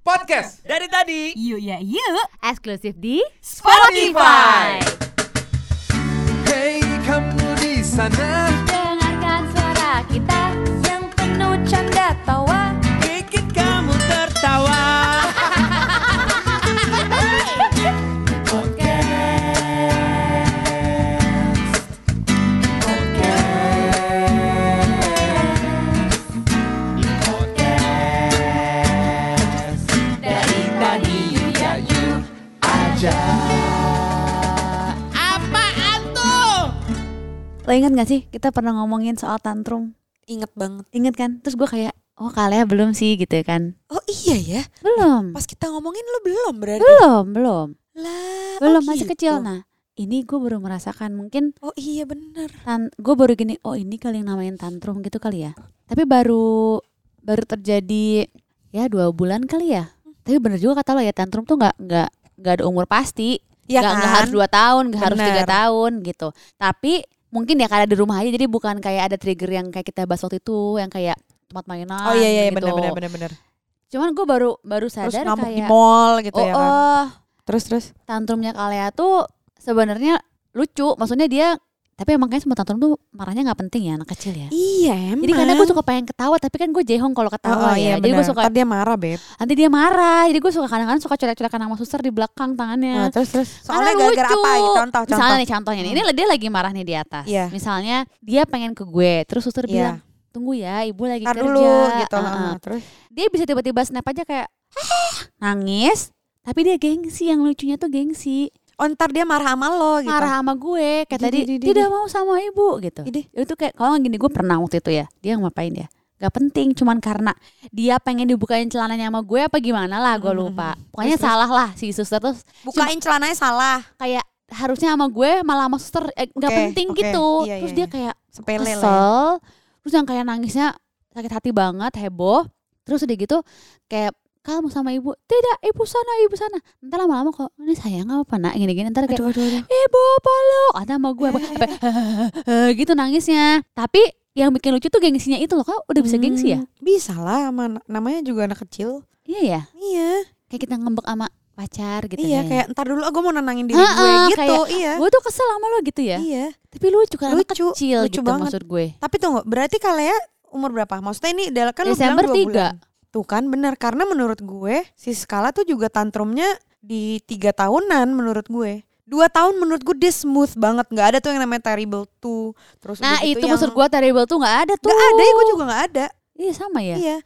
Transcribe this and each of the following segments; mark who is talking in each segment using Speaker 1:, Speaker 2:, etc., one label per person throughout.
Speaker 1: Podcast
Speaker 2: Dari tadi.
Speaker 3: Yuk ya yuk
Speaker 4: eksklusif di
Speaker 3: Spotify.
Speaker 1: Hey kamu di sana
Speaker 4: Dengarkan suara kita yang penuh canda tawa.
Speaker 2: Bikin kamu tertawa.
Speaker 4: Dari tadi ya yuk.
Speaker 2: Apaan tuh?
Speaker 5: Lo inget gak sih kita pernah ngomongin soal tantrum?
Speaker 6: Ingat banget.
Speaker 5: Ingat kan? Terus gue kayak, oh kalian belum sih gitu ya kan?
Speaker 6: Oh iya ya.
Speaker 5: Belum,
Speaker 6: Pas kita ngomongin lu belum berarti.
Speaker 5: belum, belum,
Speaker 6: Lah, oh
Speaker 5: belum masih
Speaker 6: gitu.
Speaker 5: kecil. Nah ini gue baru merasakan mungkin
Speaker 6: Oh iya bener.
Speaker 5: tan gue baru gini, oh ini kali yang namain tantrum gitu kali ya. Tapi baru baru terjadi ya dua bulan kali ya. Tapi bener juga kata lo ya tantrum tuh nggak nggak nggak ada umur pasti.
Speaker 6: Ya
Speaker 5: nggak
Speaker 6: kan?
Speaker 5: nggak harus dua tahun, nggak harus tiga
Speaker 6: Bener.
Speaker 5: tahun gitu. Tapi mungkin ya karena di rumah aja jadi bukan kayak ada trigger yang kayak kita bahas waktu itu yang kayak tempat mainan
Speaker 6: Oh iya iya
Speaker 5: gitu.
Speaker 6: bener bener bener bener.
Speaker 5: Cuman gue baru baru
Speaker 6: Terus
Speaker 5: sadar
Speaker 6: ngamuk di
Speaker 5: kayak
Speaker 6: mall gitu
Speaker 5: oh,
Speaker 6: ya kan.
Speaker 5: oh,
Speaker 6: Terus terus.
Speaker 5: tantrumnya Kalea tuh sebenarnya lucu. Maksudnya dia tapi emang kayaknya semua tantrum tuh marahnya nggak penting ya anak kecil ya.
Speaker 6: Iya emang.
Speaker 5: Jadi kadang gue suka pengen ketawa tapi kan gue jehong kalau ketawa
Speaker 6: Oh, iya,
Speaker 5: ya. Jadi gue
Speaker 6: bener.
Speaker 5: suka
Speaker 6: Ntar dia marah beb.
Speaker 5: nanti dia marah. Jadi gue suka kadang-kadang suka coret-coretan sama suster di belakang tangannya.
Speaker 6: Nah, terus terus.
Speaker 5: Iya. Karena
Speaker 6: Soalnya gara-gara
Speaker 5: lucu.
Speaker 6: apa? ya? Contoh
Speaker 5: Misalnya
Speaker 6: contoh.
Speaker 5: nih contohnya nih, ini dia lagi marah nih di atas.
Speaker 6: Iya.
Speaker 5: Misalnya dia pengen ke gue, terus suster
Speaker 6: Iya.
Speaker 5: bilang, "Tunggu ya, ibu lagi
Speaker 6: Ntar
Speaker 5: kerja."
Speaker 6: dulu gitu.
Speaker 5: Ah, ah.
Speaker 6: ah, Terus.
Speaker 5: Dia bisa tiba-tiba snap aja kayak "Ah, nangis, tapi dia gengsi yang lucunya tuh gengsi.
Speaker 6: Oh ntar dia marah sama lo gitu.
Speaker 5: Marah sama gue, kayak
Speaker 6: Didi,
Speaker 5: tadi
Speaker 6: didi, didi.
Speaker 5: tidak mau sama ibu gitu.
Speaker 6: Ide.
Speaker 5: Itu kayak kalau nggak gini gue pernah waktu itu ya. Dia ngapain ya? Gak penting, cuman karena dia pengen dibukain celananya sama gue apa gimana lah
Speaker 6: Hmm,
Speaker 5: gue lupa. Pokoknya salah lah si suster tuh
Speaker 6: Bukain celananya salah.
Speaker 5: kayak harusnya sama gue malah sama suster eh, nggak
Speaker 6: Oke,
Speaker 5: penting
Speaker 6: oke.
Speaker 5: gitu
Speaker 6: Iya,
Speaker 5: terus
Speaker 6: iya,
Speaker 5: dia
Speaker 6: iya.
Speaker 5: kayak
Speaker 6: Sepele lah. ya.
Speaker 5: kesel terus yang kayak nangisnya sakit hati banget heboh terus udah gitu kayak kamu sama ibu tidak ibu sana ibu sana ntar lama-lama kok ini sayang apa nak gini-gini ntar kayak
Speaker 6: Aduh aduh aduh.
Speaker 5: ibu peluk ada sama gue apa apa- gitu nangisnya tapi yang bikin lucu tuh gengsinya itu loh kau udah bisa gengsi ya
Speaker 6: Hmm, Bisa lah sama namanya juga anak kecil.
Speaker 5: iya ya
Speaker 6: Iya.
Speaker 5: kayak kita ngembek sama pacar gitu
Speaker 6: iya
Speaker 5: ya.
Speaker 6: kayak ntar dulu gue mau nenangin diri
Speaker 5: Ah,
Speaker 6: gue
Speaker 5: ah,
Speaker 6: gitu.
Speaker 5: kayak,
Speaker 6: iya.
Speaker 5: gue tuh kesel sama lo gitu ya
Speaker 6: Iya.
Speaker 5: tapi lucu kan anak
Speaker 6: Lucu,
Speaker 5: kecil
Speaker 6: lucu
Speaker 5: gitu
Speaker 6: banget.
Speaker 5: maksud gue
Speaker 6: Tapi tunggu, berarti Kalea umur berapa? Maksudnya ini dalam kan lu bilang
Speaker 5: Desember
Speaker 6: dua
Speaker 5: tiga.
Speaker 6: bulan. Tuh kan benar karena menurut gue si Skala tuh juga tantrumnya di tiga tahunan menurut gue. Dua tahun menurut gue dia smooth banget nggak ada tuh yang namanya terrible tuh terus
Speaker 5: Nah
Speaker 6: udah gitu
Speaker 5: itu
Speaker 6: yang-
Speaker 5: maksud gue terrible tuh nggak ada tuh.
Speaker 6: nggak ada ya gue juga nggak ada
Speaker 5: Iya sama ya.
Speaker 6: iya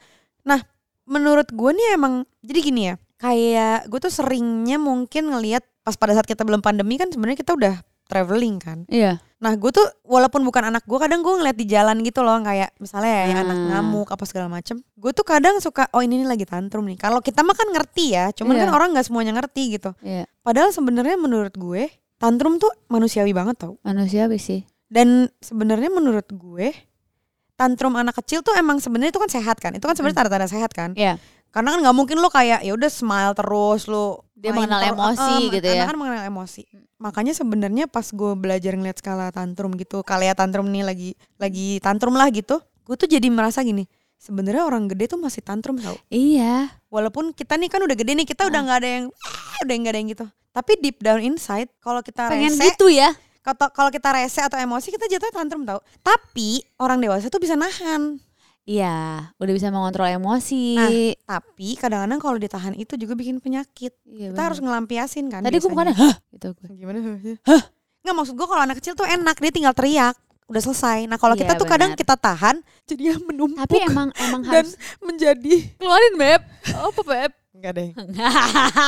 Speaker 6: nah menurut gue nih emang jadi gini ya kayak gue tuh seringnya mungkin ngelihat pas pada saat kita belum pandemi kan sebenarnya kita udah traveling kan
Speaker 5: Iya.
Speaker 6: Nah gue tuh walaupun bukan anak gue kadang gue ngeliat di jalan gitu loh kayak misalnya ya yang anak
Speaker 5: Ah.
Speaker 6: ngamuk apa segala macem. Gue tuh kadang suka oh ini nih lagi tantrum nih. Kalau kita mah kan ngerti ya, cuman kan
Speaker 5: Iya.
Speaker 6: orang nggak semuanya ngerti gitu.
Speaker 5: Iya.
Speaker 6: Padahal sebenarnya menurut gue tantrum tuh manusiawi banget tau.
Speaker 5: Manusiawi sih.
Speaker 6: Dan sebenarnya menurut gue tantrum anak kecil tuh emang sebenarnya itu kan sehat kan. Itu kan sebenarnya tanda-tanda sehat kan.
Speaker 5: Iya.
Speaker 6: Karena kan nggak mungkin lo kayak ya udah smile terus lo
Speaker 5: Dia
Speaker 6: main
Speaker 5: mengenal
Speaker 6: terus."
Speaker 5: emosi
Speaker 6: Eh, em,
Speaker 5: gitu ya. Hmm.
Speaker 6: Anak kan mengenal emosi. Makanya sebenarnya pas gue belajar ngeliat skala tantrum gitu, kalea tantrum nih lagi lagi tantrum lah gitu. Gue tuh jadi merasa gini, sebenarnya orang gede tuh masih tantrum tau.
Speaker 5: Iya.
Speaker 6: Walaupun kita nih kan udah gede nih, kita udah
Speaker 5: Ah.
Speaker 6: nggak ada yang udah nggak ada yang gitu. Tapi deep down inside kalau kita
Speaker 5: Pengen
Speaker 6: rese,
Speaker 5: gitu ya.
Speaker 6: kata- kalau kita rese atau emosi kita jatuhnya tantrum tau. Tapi orang dewasa tuh bisa nahan.
Speaker 5: Iya. Udah bisa mengontrol emosi.
Speaker 6: Nah, Tapi kadang-kadang kalau ditahan itu juga bikin penyakit.
Speaker 5: Iya,
Speaker 6: kita
Speaker 5: bener.
Speaker 6: harus ngelampiasin kan
Speaker 5: Tadi gue
Speaker 6: biasanya.
Speaker 5: bukan hah gitu gue.
Speaker 6: gimana hah nggak maksud gue kalau anak kecil tuh enak dia tinggal teriak udah selesai nah kalau
Speaker 5: Iya,
Speaker 6: kita tuh kadang
Speaker 5: benar.
Speaker 6: kita tahan jadinya menumpuk
Speaker 5: Tapi emang emang
Speaker 6: dan
Speaker 5: harus
Speaker 6: menjadi
Speaker 5: keluarin beb. Apa beb?
Speaker 6: enggak deh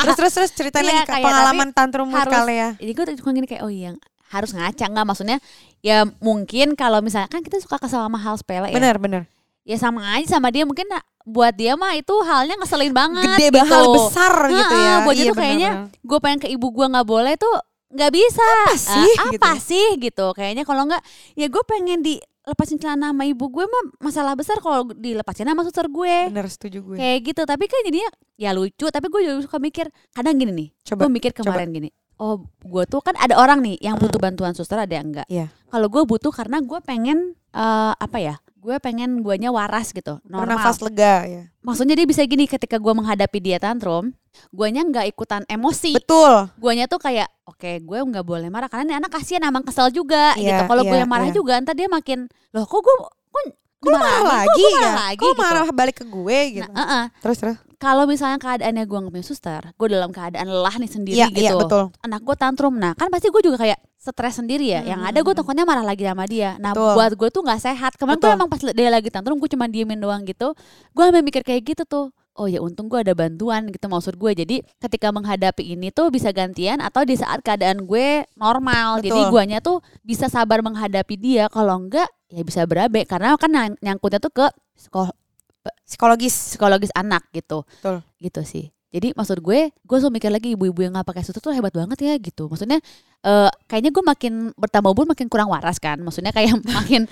Speaker 6: terus terus terus ceritain
Speaker 5: Iya,
Speaker 6: lagi Kak,
Speaker 5: kayak
Speaker 6: pengalaman tantrum
Speaker 5: harus-
Speaker 6: kali ya
Speaker 5: Jadi gue tuh gini kayak oh iya harus ngaca nggak maksudnya ya mungkin kalau misalnya kan kita suka kesel sama hal sepele ya.
Speaker 6: benar benar
Speaker 5: Ya sama aja sama dia mungkin nah, buat dia mah itu halnya ngeselin banget.
Speaker 6: gede
Speaker 5: gitu.
Speaker 6: banget hal besar gitu ya
Speaker 5: Heeh, buat dia
Speaker 6: Iya,
Speaker 5: tuh
Speaker 6: benar,
Speaker 5: kayaknya
Speaker 6: benar.
Speaker 5: gue pengen ke ibu gue nggak boleh tuh nggak bisa
Speaker 6: apa
Speaker 5: Eh,
Speaker 6: sih ya.
Speaker 5: apa sih gitu kayaknya kalau nggak ya gue pengen dilepasin celana sama ibu gue mah masalah besar kalau dilepasin sama suster gue
Speaker 6: benar setuju gue
Speaker 5: kayak gitu tapi kan jadinya ya lucu tapi gue juga suka mikir kadang gini nih
Speaker 6: Coba,
Speaker 5: gue mikir
Speaker 6: coba.
Speaker 5: kemarin gini oh gue tuh kan ada orang nih yang butuh bantuan suster ada yang enggak
Speaker 6: Iya.
Speaker 5: kalau gue butuh karena gue pengen eh, apa ya gue gue pengen guanya waras gitu normal
Speaker 6: Bernafas lega ya.
Speaker 5: maksudnya dia bisa gini ketika gue menghadapi dia tantrum guanya nggak ikutan emosi
Speaker 6: Betul.
Speaker 5: guanya tuh kayak oke gue nggak boleh marah karena ini anak kasihan emang kesel juga
Speaker 6: Iya,
Speaker 5: gitu kalau gue
Speaker 6: iya,
Speaker 5: yang marah
Speaker 6: iya.
Speaker 5: juga ntar dia makin loh kok gue kok,
Speaker 6: Kok lu marah lagi
Speaker 5: kok, gua
Speaker 6: ya?
Speaker 5: marah lagi
Speaker 6: Kok
Speaker 5: gitu.
Speaker 6: marah balik ke gue gitu.
Speaker 5: Nah, eh, eh.
Speaker 6: terus terus.
Speaker 5: kalau misalnya keadaannya gue nggak punya suster gue dalam keadaan lelah nih sendiri
Speaker 6: Iya,
Speaker 5: gitu
Speaker 6: iya betul.
Speaker 5: anak gue tantrum nah kan pasti gue juga kayak stres sendiri ya yang ada gue takutnya marah lagi sama dia nah
Speaker 6: Betul.
Speaker 5: buat gue tuh nggak sehat kemarin gue
Speaker 6: Betul.
Speaker 5: emang pas dia lagi tantrum gue cuma diemin doang gitu gue sampai mikir kayak gitu tuh oh ya untung gue ada bantuan gitu maksud gue jadi ketika menghadapi ini tuh bisa gantian atau di saat keadaan gue normal jadi
Speaker 6: Betul.
Speaker 5: guanya tuh bisa sabar menghadapi dia kalau enggak ya bisa berabe karena kan nyang- nyangkutnya tuh ke psiko-
Speaker 6: Psikologis.
Speaker 5: psikologis anak gitu
Speaker 6: Betul.
Speaker 5: gitu sih. Jadi maksud gue, gue selalu mikir lagi ibu-ibu yang nggak pakai sutra tuh hebat banget ya gitu. Maksudnya eh, kayaknya gue makin bertambah umur makin kurang waras kan. Maksudnya kayak makin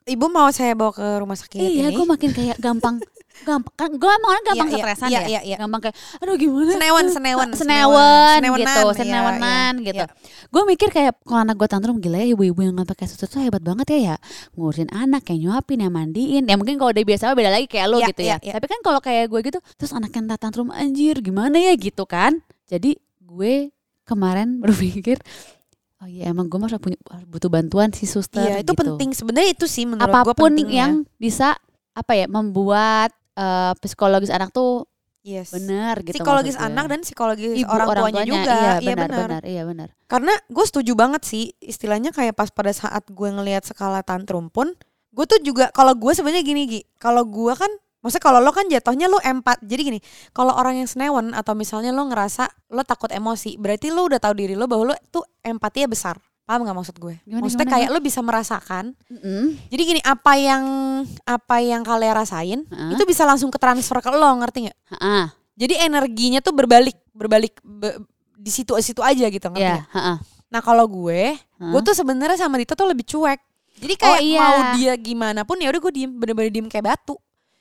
Speaker 6: Ibu mau saya bawa ke rumah sakit
Speaker 5: iya
Speaker 6: ini.
Speaker 5: gue makin kayak gampang gampang kan gue emang orang gampang
Speaker 6: Iya, iya,
Speaker 5: stresan
Speaker 6: iya,
Speaker 5: ya.
Speaker 6: iya, iya.
Speaker 5: Gampang kayak aduh gimana?
Speaker 6: Senewan, senewan,
Speaker 5: senewan,
Speaker 6: senewan.
Speaker 5: gitu,
Speaker 6: Senewanan, iya,
Speaker 5: senewanan
Speaker 6: iya,
Speaker 5: gitu.
Speaker 6: iya.
Speaker 5: Gue mikir kayak kalau anak gue tantrum gila ya ibu-ibu yang nggak pakai sutra tuh hebat banget ya ya ngurusin anak kayak nyuapin ya mandiin ya mungkin kalau udah biasa beda lagi kayak lo
Speaker 6: Iya,
Speaker 5: gitu
Speaker 6: iya,
Speaker 5: ya
Speaker 6: iya.
Speaker 5: tapi kan kalau kayak gue gitu terus anak yang tantrum anjir gimana ya gitu kan jadi gue kemarin berpikir oh iya emang gue masa punya butuh bantuan si suster
Speaker 6: Iya,
Speaker 5: gitu.
Speaker 6: itu penting sebenarnya itu sih menurut gue
Speaker 5: apapun
Speaker 6: penting ya.
Speaker 5: yang bisa apa ya membuat eh, psikologis anak tuh
Speaker 6: ya. Yes.
Speaker 5: benar gitu
Speaker 6: psikologis
Speaker 5: maksud gue.
Speaker 6: anak dan psikologis
Speaker 5: Ibu
Speaker 6: orang, tuanya, juga.
Speaker 5: iya
Speaker 6: Iya,
Speaker 5: benar benar iya benar
Speaker 6: Karena gue setuju banget sih istilahnya kayak pas pada saat gue ngelihat skala tantrum pun gue tuh juga kalau gue sebenarnya gini Gi, kalau gue kan maksudnya kalau lo kan jatuhnya lo empat jadi gini kalau orang yang senewan atau misalnya lo ngerasa lo takut emosi berarti lo udah tahu diri lo bahwa lo tuh empatinya besar paham nggak maksud gue
Speaker 5: Gimana,
Speaker 6: maksudnya
Speaker 5: gimana,
Speaker 6: kayak lo bisa merasakan
Speaker 5: Mm-mm.
Speaker 6: jadi gini apa yang apa yang kalian rasain
Speaker 5: Heeh.
Speaker 6: itu bisa langsung ke transfer ke lo ngerti nggak
Speaker 5: Ha-ah,
Speaker 6: jadi energinya tuh berbalik berbalik be- di situ situ aja gitu ngerti
Speaker 5: iya
Speaker 6: nggak?
Speaker 5: ha-ah.
Speaker 6: Nah kalau gue, gue
Speaker 5: Hah?
Speaker 6: tuh sebenarnya sama Dito tuh lebih cuek. Jadi
Speaker 5: Oh,
Speaker 6: kayak
Speaker 5: iya.
Speaker 6: mau dia gimana pun ya udah gue diem, bener-bener diem kayak batu.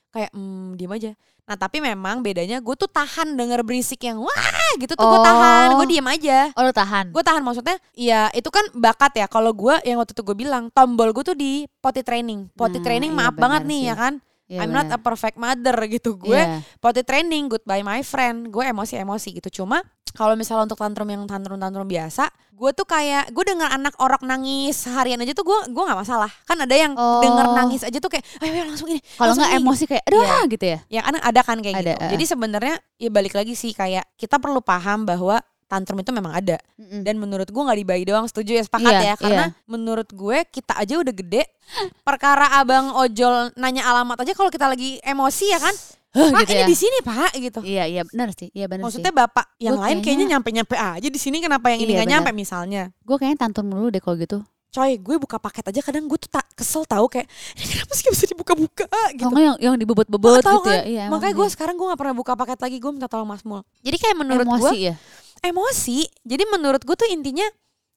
Speaker 6: Kayak hmm, diem aja. Nah tapi memang bedanya gue tuh tahan denger berisik yang wah gitu tuh gue
Speaker 5: Oh.
Speaker 6: tahan, gue diem aja.
Speaker 5: oh lo tahan
Speaker 6: Gue tahan maksudnya, ya itu kan bakat ya. Kalau gue yang waktu itu gue bilang, tombol gue tuh di potty training. Potty
Speaker 5: Nah,
Speaker 6: training
Speaker 5: iya,
Speaker 6: maaf
Speaker 5: benar
Speaker 6: banget nih
Speaker 5: sih.
Speaker 6: ya kan.
Speaker 5: Iya,
Speaker 6: I'm not a
Speaker 5: benar.
Speaker 6: perfect mother gitu gue
Speaker 5: Iya.
Speaker 6: potty training goodbye my friend gue emosi emosi gitu cuma kalau misalnya untuk tantrum yang tantrum tantrum biasa gue tuh kayak gue dengar anak orok nangis seharian aja tuh gue gue nggak masalah kan ada yang
Speaker 5: Oh.
Speaker 6: denger nangis aja tuh kayak ayo, ayo langsung ini
Speaker 5: kalau
Speaker 6: langsung
Speaker 5: nggak
Speaker 6: ini."
Speaker 5: emosi kayak aduh
Speaker 6: Iya.
Speaker 5: ah," gitu ya
Speaker 6: ya kan ada kan kayak
Speaker 5: Ada,
Speaker 6: gitu
Speaker 5: eh.
Speaker 6: jadi sebenarnya ya balik lagi sih kayak kita perlu paham bahwa tantrum itu memang ada
Speaker 5: Mm-mm.
Speaker 6: dan menurut gue nggak dibayi doang setuju ya sepakat
Speaker 5: Iya,
Speaker 6: ya karena menurut gue kita aja udah gede perkara abang ojol nanya alamat aja kalau kita lagi emosi ya kan
Speaker 5: Huh,
Speaker 6: pak
Speaker 5: gitu
Speaker 6: ini
Speaker 5: ya.
Speaker 6: di sini pak gitu
Speaker 5: iya iya benar sih iya benar sih
Speaker 6: Maksudnya bapak yang
Speaker 5: Gua
Speaker 6: lain kayaknya
Speaker 5: kayaknya-
Speaker 6: nyampe-nyampe aja di sini kenapa yang ini
Speaker 5: Iya,
Speaker 6: nggak
Speaker 5: benar.
Speaker 6: nyampe misalnya.
Speaker 5: gue kayaknya tantrum mulu deh kalau gitu
Speaker 6: Coy, gue buka paket aja kadang gue tuh tak kesel tahu kayak ini kenapa sih nggak bisa dibuka-buka gitu.
Speaker 5: Kalau nggak yang yang dibebut-bebut gitu
Speaker 6: Tahu kan?
Speaker 5: ya Oh, iya emang
Speaker 6: Makanya gue
Speaker 5: sih.
Speaker 6: sekarang gue nggak pernah buka paket lagi gue minta tolong Mas Mul. Jadi kayak menurut
Speaker 5: emosi
Speaker 6: gue
Speaker 5: ya
Speaker 6: emosi. Jadi menurut gue tuh intinya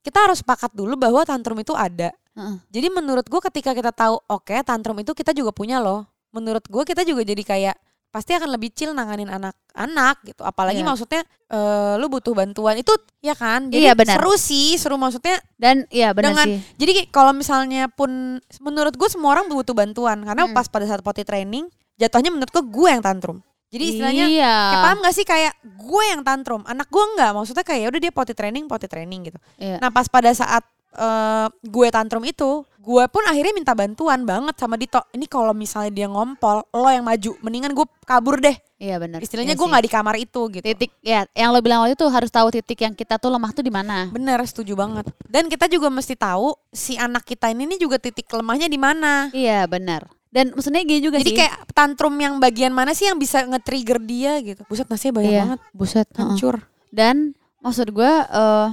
Speaker 6: kita harus sepakat dulu bahwa tantrum itu ada.
Speaker 5: Heeh.
Speaker 6: Jadi menurut gue ketika kita tahu oke tantrum itu kita juga punya loh. Menurut gue kita juga jadi kayak pasti akan lebih chill nanganin anak-anak gitu. Apalagi
Speaker 5: Iya.
Speaker 6: maksudnya eh, lu butuh bantuan itu ya kan. Jadi
Speaker 5: Iya, benar.
Speaker 6: seru sih, seru maksudnya
Speaker 5: dan iya benar
Speaker 6: dengan
Speaker 5: sih
Speaker 6: jadi kayak kalau misalnya pun menurut gue semua orang butuh bantuan karena
Speaker 5: Mm.
Speaker 6: pas pada saat potty training jatuhnya menurut gue gue yang tantrum. Jadi istilahnya
Speaker 5: iya
Speaker 6: kayak paham gak sih kayak gue yang tantrum, anak gue enggak. Maksudnya kayak "Ya udah dia potty training, potty training gitu.
Speaker 5: Iya.
Speaker 6: Nah pas pada saat eh, gue tantrum itu, gue pun akhirnya minta bantuan banget sama Dito. Ini kalau misalnya dia ngompol, lo yang maju, mendingan gue kabur deh.
Speaker 5: iya benar Iya
Speaker 6: Istilahnya gue
Speaker 5: sih.
Speaker 6: nggak di kamar itu gitu.
Speaker 5: titik ya yang lo bilang waktu itu harus tahu titik yang kita tuh lemah tuh di mana
Speaker 6: Bener, setuju banget. Dan kita juga mesti tahu si anak kita ini nih juga titik lemahnya di mana.
Speaker 5: iya benar dan maksudnya gini juga Iya
Speaker 6: Jadi
Speaker 5: sih
Speaker 6: kayak tantrum yang bagian mana sih yang bisa nge-trigger dia gitu. Buset nasinya banyak
Speaker 5: iya
Speaker 6: banget,
Speaker 5: buset heeh.
Speaker 6: hancur.
Speaker 5: dan maksud gue eh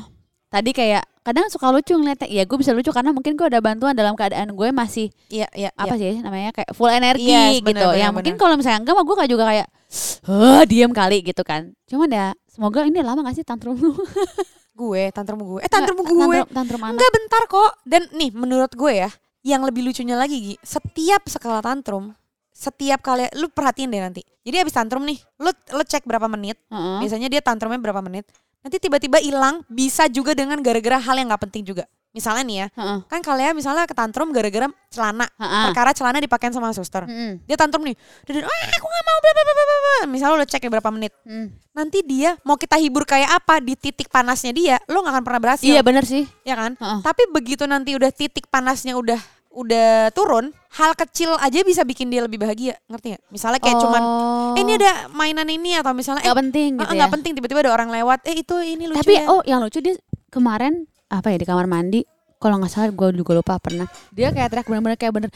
Speaker 5: tadi kayak kadang suka lucu ngeliatnya ya gue bisa lucu karena mungkin gue ada bantuan dalam keadaan gue masih
Speaker 6: Iya, iya,
Speaker 5: apa sih namanya kayak full energi
Speaker 6: Yes,
Speaker 5: gitu
Speaker 6: bener, bener,
Speaker 5: yang mungkin
Speaker 6: bener.
Speaker 5: kalau misalnya enggak mah gue kayak juga kayak Hah, diam kali gitu kan cuman ya semoga ini lama gak sih tantrum lu
Speaker 6: Gue, tantrum gue. Eh tantrum
Speaker 5: Nggak,
Speaker 6: gue.
Speaker 5: tantrum, tantrum anak
Speaker 6: Enggak bentar kok. Dan nih menurut gue ya, yang lebih lucunya lagi Gi, setiap skala tantrum, setiap kali lu perhatiin deh nanti. Jadi abis tantrum nih, lu lu cek berapa menit,
Speaker 5: Heeh.
Speaker 6: biasanya dia tantrumnya berapa menit. nanti tiba-tiba hilang bisa juga dengan gara-gara hal yang nggak penting juga misalnya nih ya
Speaker 5: Heeh.
Speaker 6: kan kalian misalnya ke tantrum gara-gara celana
Speaker 5: Hmm. Ha-ha. Hmm.
Speaker 6: perkara celana dipakein sama suster
Speaker 5: Mm-mm.
Speaker 6: dia tantrum nih dia dia, "Ah, aku nggak mau bla bla bla bla bla, bla." misalnya lo cek ya berapa menit
Speaker 5: Mm.
Speaker 6: nanti dia mau kita hibur kayak apa di titik panasnya dia lo nggak akan pernah berhasil
Speaker 5: Iya benar sih.
Speaker 6: ya kan
Speaker 5: Heeh.
Speaker 6: tapi begitu nanti udah titik panasnya udah udah turun hal kecil aja bisa bikin dia lebih bahagia ngerti nggak misalnya kayak cuman
Speaker 5: Oh.
Speaker 6: eh, ini ada mainan ini atau misalnya eh,
Speaker 5: Nggak penting
Speaker 6: eh,
Speaker 5: gitu
Speaker 6: nggak
Speaker 5: ya.
Speaker 6: penting tiba-tiba ada orang lewat eh itu ini lucu
Speaker 5: Tapi
Speaker 6: ya.
Speaker 5: oh yang lucu dia kemarin apa ya di kamar mandi kalau nggak salah gue juga lupa pernah dia kayak teriak bener-bener kayak bener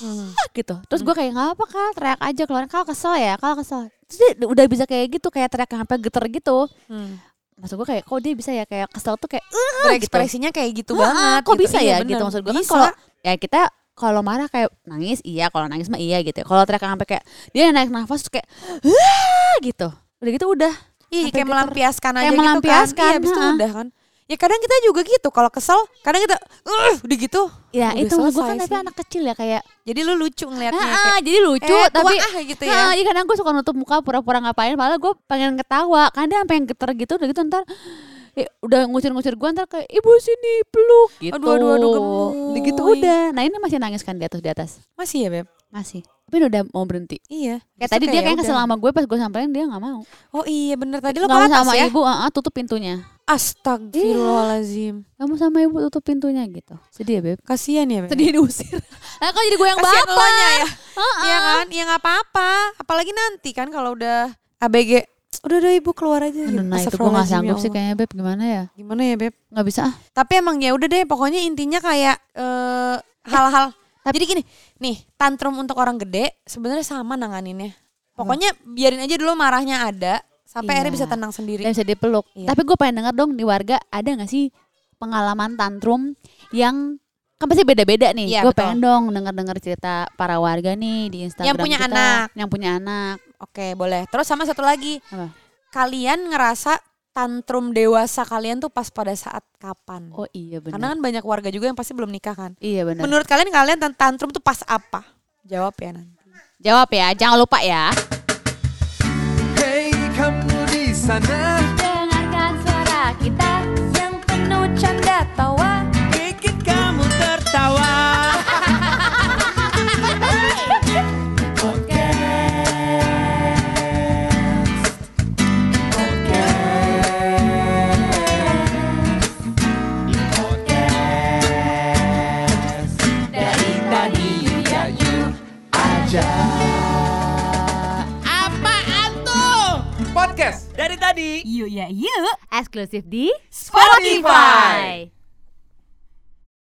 Speaker 6: Hmm.
Speaker 5: gitu terus gue kayak nggak apa kal teriak aja keluar kalau kesel ya kalau kesel terus dia udah bisa kayak gitu kayak teriak sampai geter gitu
Speaker 6: Hmm.
Speaker 5: maksud gue kayak kok dia bisa ya kayak kesel tuh kayak "Eh,
Speaker 6: berekspresinya kayak gitu banget
Speaker 5: kok
Speaker 6: gitu.
Speaker 5: bisa ya
Speaker 6: Iya, bener.
Speaker 5: gitu maksud gue kan
Speaker 6: Bisa.
Speaker 5: kalau ya kita kalau marah kayak nangis iya kalau nangis mah iya gitu ya. kalau teriak sampai kayak dia naik nafas terus kayak "Hah," gitu udah gitu udah sampai
Speaker 6: Iya, kayak
Speaker 5: geter.
Speaker 6: melampiaskan aja
Speaker 5: Kayak
Speaker 6: gitu kan.
Speaker 5: melampiaskan,
Speaker 6: Iya, abis itu
Speaker 5: ha-ha.
Speaker 6: udah kan. Ya kadang kita juga gitu kalau kesel, kadang kita "Ugh," udah gitu.
Speaker 5: ya
Speaker 6: Udah
Speaker 5: itu gue
Speaker 6: selesai
Speaker 5: kan tapi
Speaker 6: sih.
Speaker 5: anak kecil ya kayak
Speaker 6: Jadi lu lucu ngeliatnya ya,
Speaker 5: "Ah,
Speaker 6: kayak
Speaker 5: ah," jadi lucu
Speaker 6: "Eh, tua
Speaker 5: tapi
Speaker 6: ah," kayak gitu ya.
Speaker 5: Nah, iya kadang gue suka nutup muka pura-pura ngapain, malah gue pengen ketawa. Kadang dia sampai yang geter gitu, udah gitu ntar eh, udah ngusir-ngusir gue ntar kayak ibu sini peluk gitu.
Speaker 6: Aduh, aduh, aduh,
Speaker 5: Udah gitu
Speaker 6: gemoy.
Speaker 5: udah. Nah ini masih nangis kan di atas di atas,
Speaker 6: Masih ya, Beb?
Speaker 5: masih. Tapi udah mau berhenti.
Speaker 6: Iya.
Speaker 5: Kayak
Speaker 6: Abis itu
Speaker 5: tadi dia
Speaker 6: ya
Speaker 5: kayak kesel
Speaker 6: udah.
Speaker 5: sama gue pas gue samperin dia nggak mau.
Speaker 6: Oh iya bener tadi lu
Speaker 5: Nggak
Speaker 6: ke
Speaker 5: mau
Speaker 6: atas
Speaker 5: sama
Speaker 6: ya.
Speaker 5: ibu, ah, ah, tutup pintunya.
Speaker 6: Astagfirullahalazim.
Speaker 5: Nggak mau sama ibu tutup pintunya gitu. Sedih ya beb.
Speaker 6: Kasihan ya, Beb.
Speaker 5: Sedih diusir. nah kok jadi gue yang
Speaker 6: Kasihan
Speaker 5: baper.
Speaker 6: elonya ya.
Speaker 5: Ah,
Speaker 6: Iya
Speaker 5: ah.
Speaker 6: kan? Iya nggak apa-apa. Apalagi nanti kan kalau udah ABG. Udah udah ibu keluar aja.
Speaker 5: Aduh, nah itu gue
Speaker 6: gitu.
Speaker 5: nggak
Speaker 6: Astagfirullahalazim,
Speaker 5: sanggup
Speaker 6: ya
Speaker 5: sih
Speaker 6: Allah.
Speaker 5: kayaknya beb gimana ya?
Speaker 6: Gimana ya, Beb?
Speaker 5: Nggak bisa ah.
Speaker 6: Tapi emang ya udah deh, pokoknya intinya kayak eh, hal-hal. Jadi gini, nih tantrum untuk orang gede sebenarnya sama nanganinnya. Pokoknya biarin aja dulu marahnya ada sampai
Speaker 5: Iya.
Speaker 6: akhirnya bisa tenang sendiri.
Speaker 5: Dan bisa dipeluk.
Speaker 6: Iya.
Speaker 5: Tapi gue pengen denger dong di warga ada gak sih pengalaman tantrum yang kan pasti beda-beda nih.
Speaker 6: Iya,
Speaker 5: gue
Speaker 6: betul.
Speaker 5: pengen dong denger-denger cerita para warga nih di Instagram
Speaker 6: Yang punya
Speaker 5: kita.
Speaker 6: anak.
Speaker 5: Yang punya anak.
Speaker 6: Oke, boleh. Terus sama satu lagi,
Speaker 5: Apa?
Speaker 6: kalian ngerasa tantrum dewasa kalian tuh pas pada saat kapan?
Speaker 5: Oh iya benar.
Speaker 6: Karena kan banyak warga juga yang pasti belum nikah kan.
Speaker 5: iya benar.
Speaker 6: Menurut kalian kalian tan- tantrum tuh pas apa? Jawab ya nanti.
Speaker 5: Jawab ya, jangan lupa ya.
Speaker 1: Hei kamu di sana
Speaker 4: Dengarkan suara kita yang penuh canda tawa
Speaker 2: bikin kamu tertawa. Apaan tuh?
Speaker 1: Podcast
Speaker 2: Dari tadi.
Speaker 3: Yuk ya yuk
Speaker 5: Eksklusif di
Speaker 3: Spotify.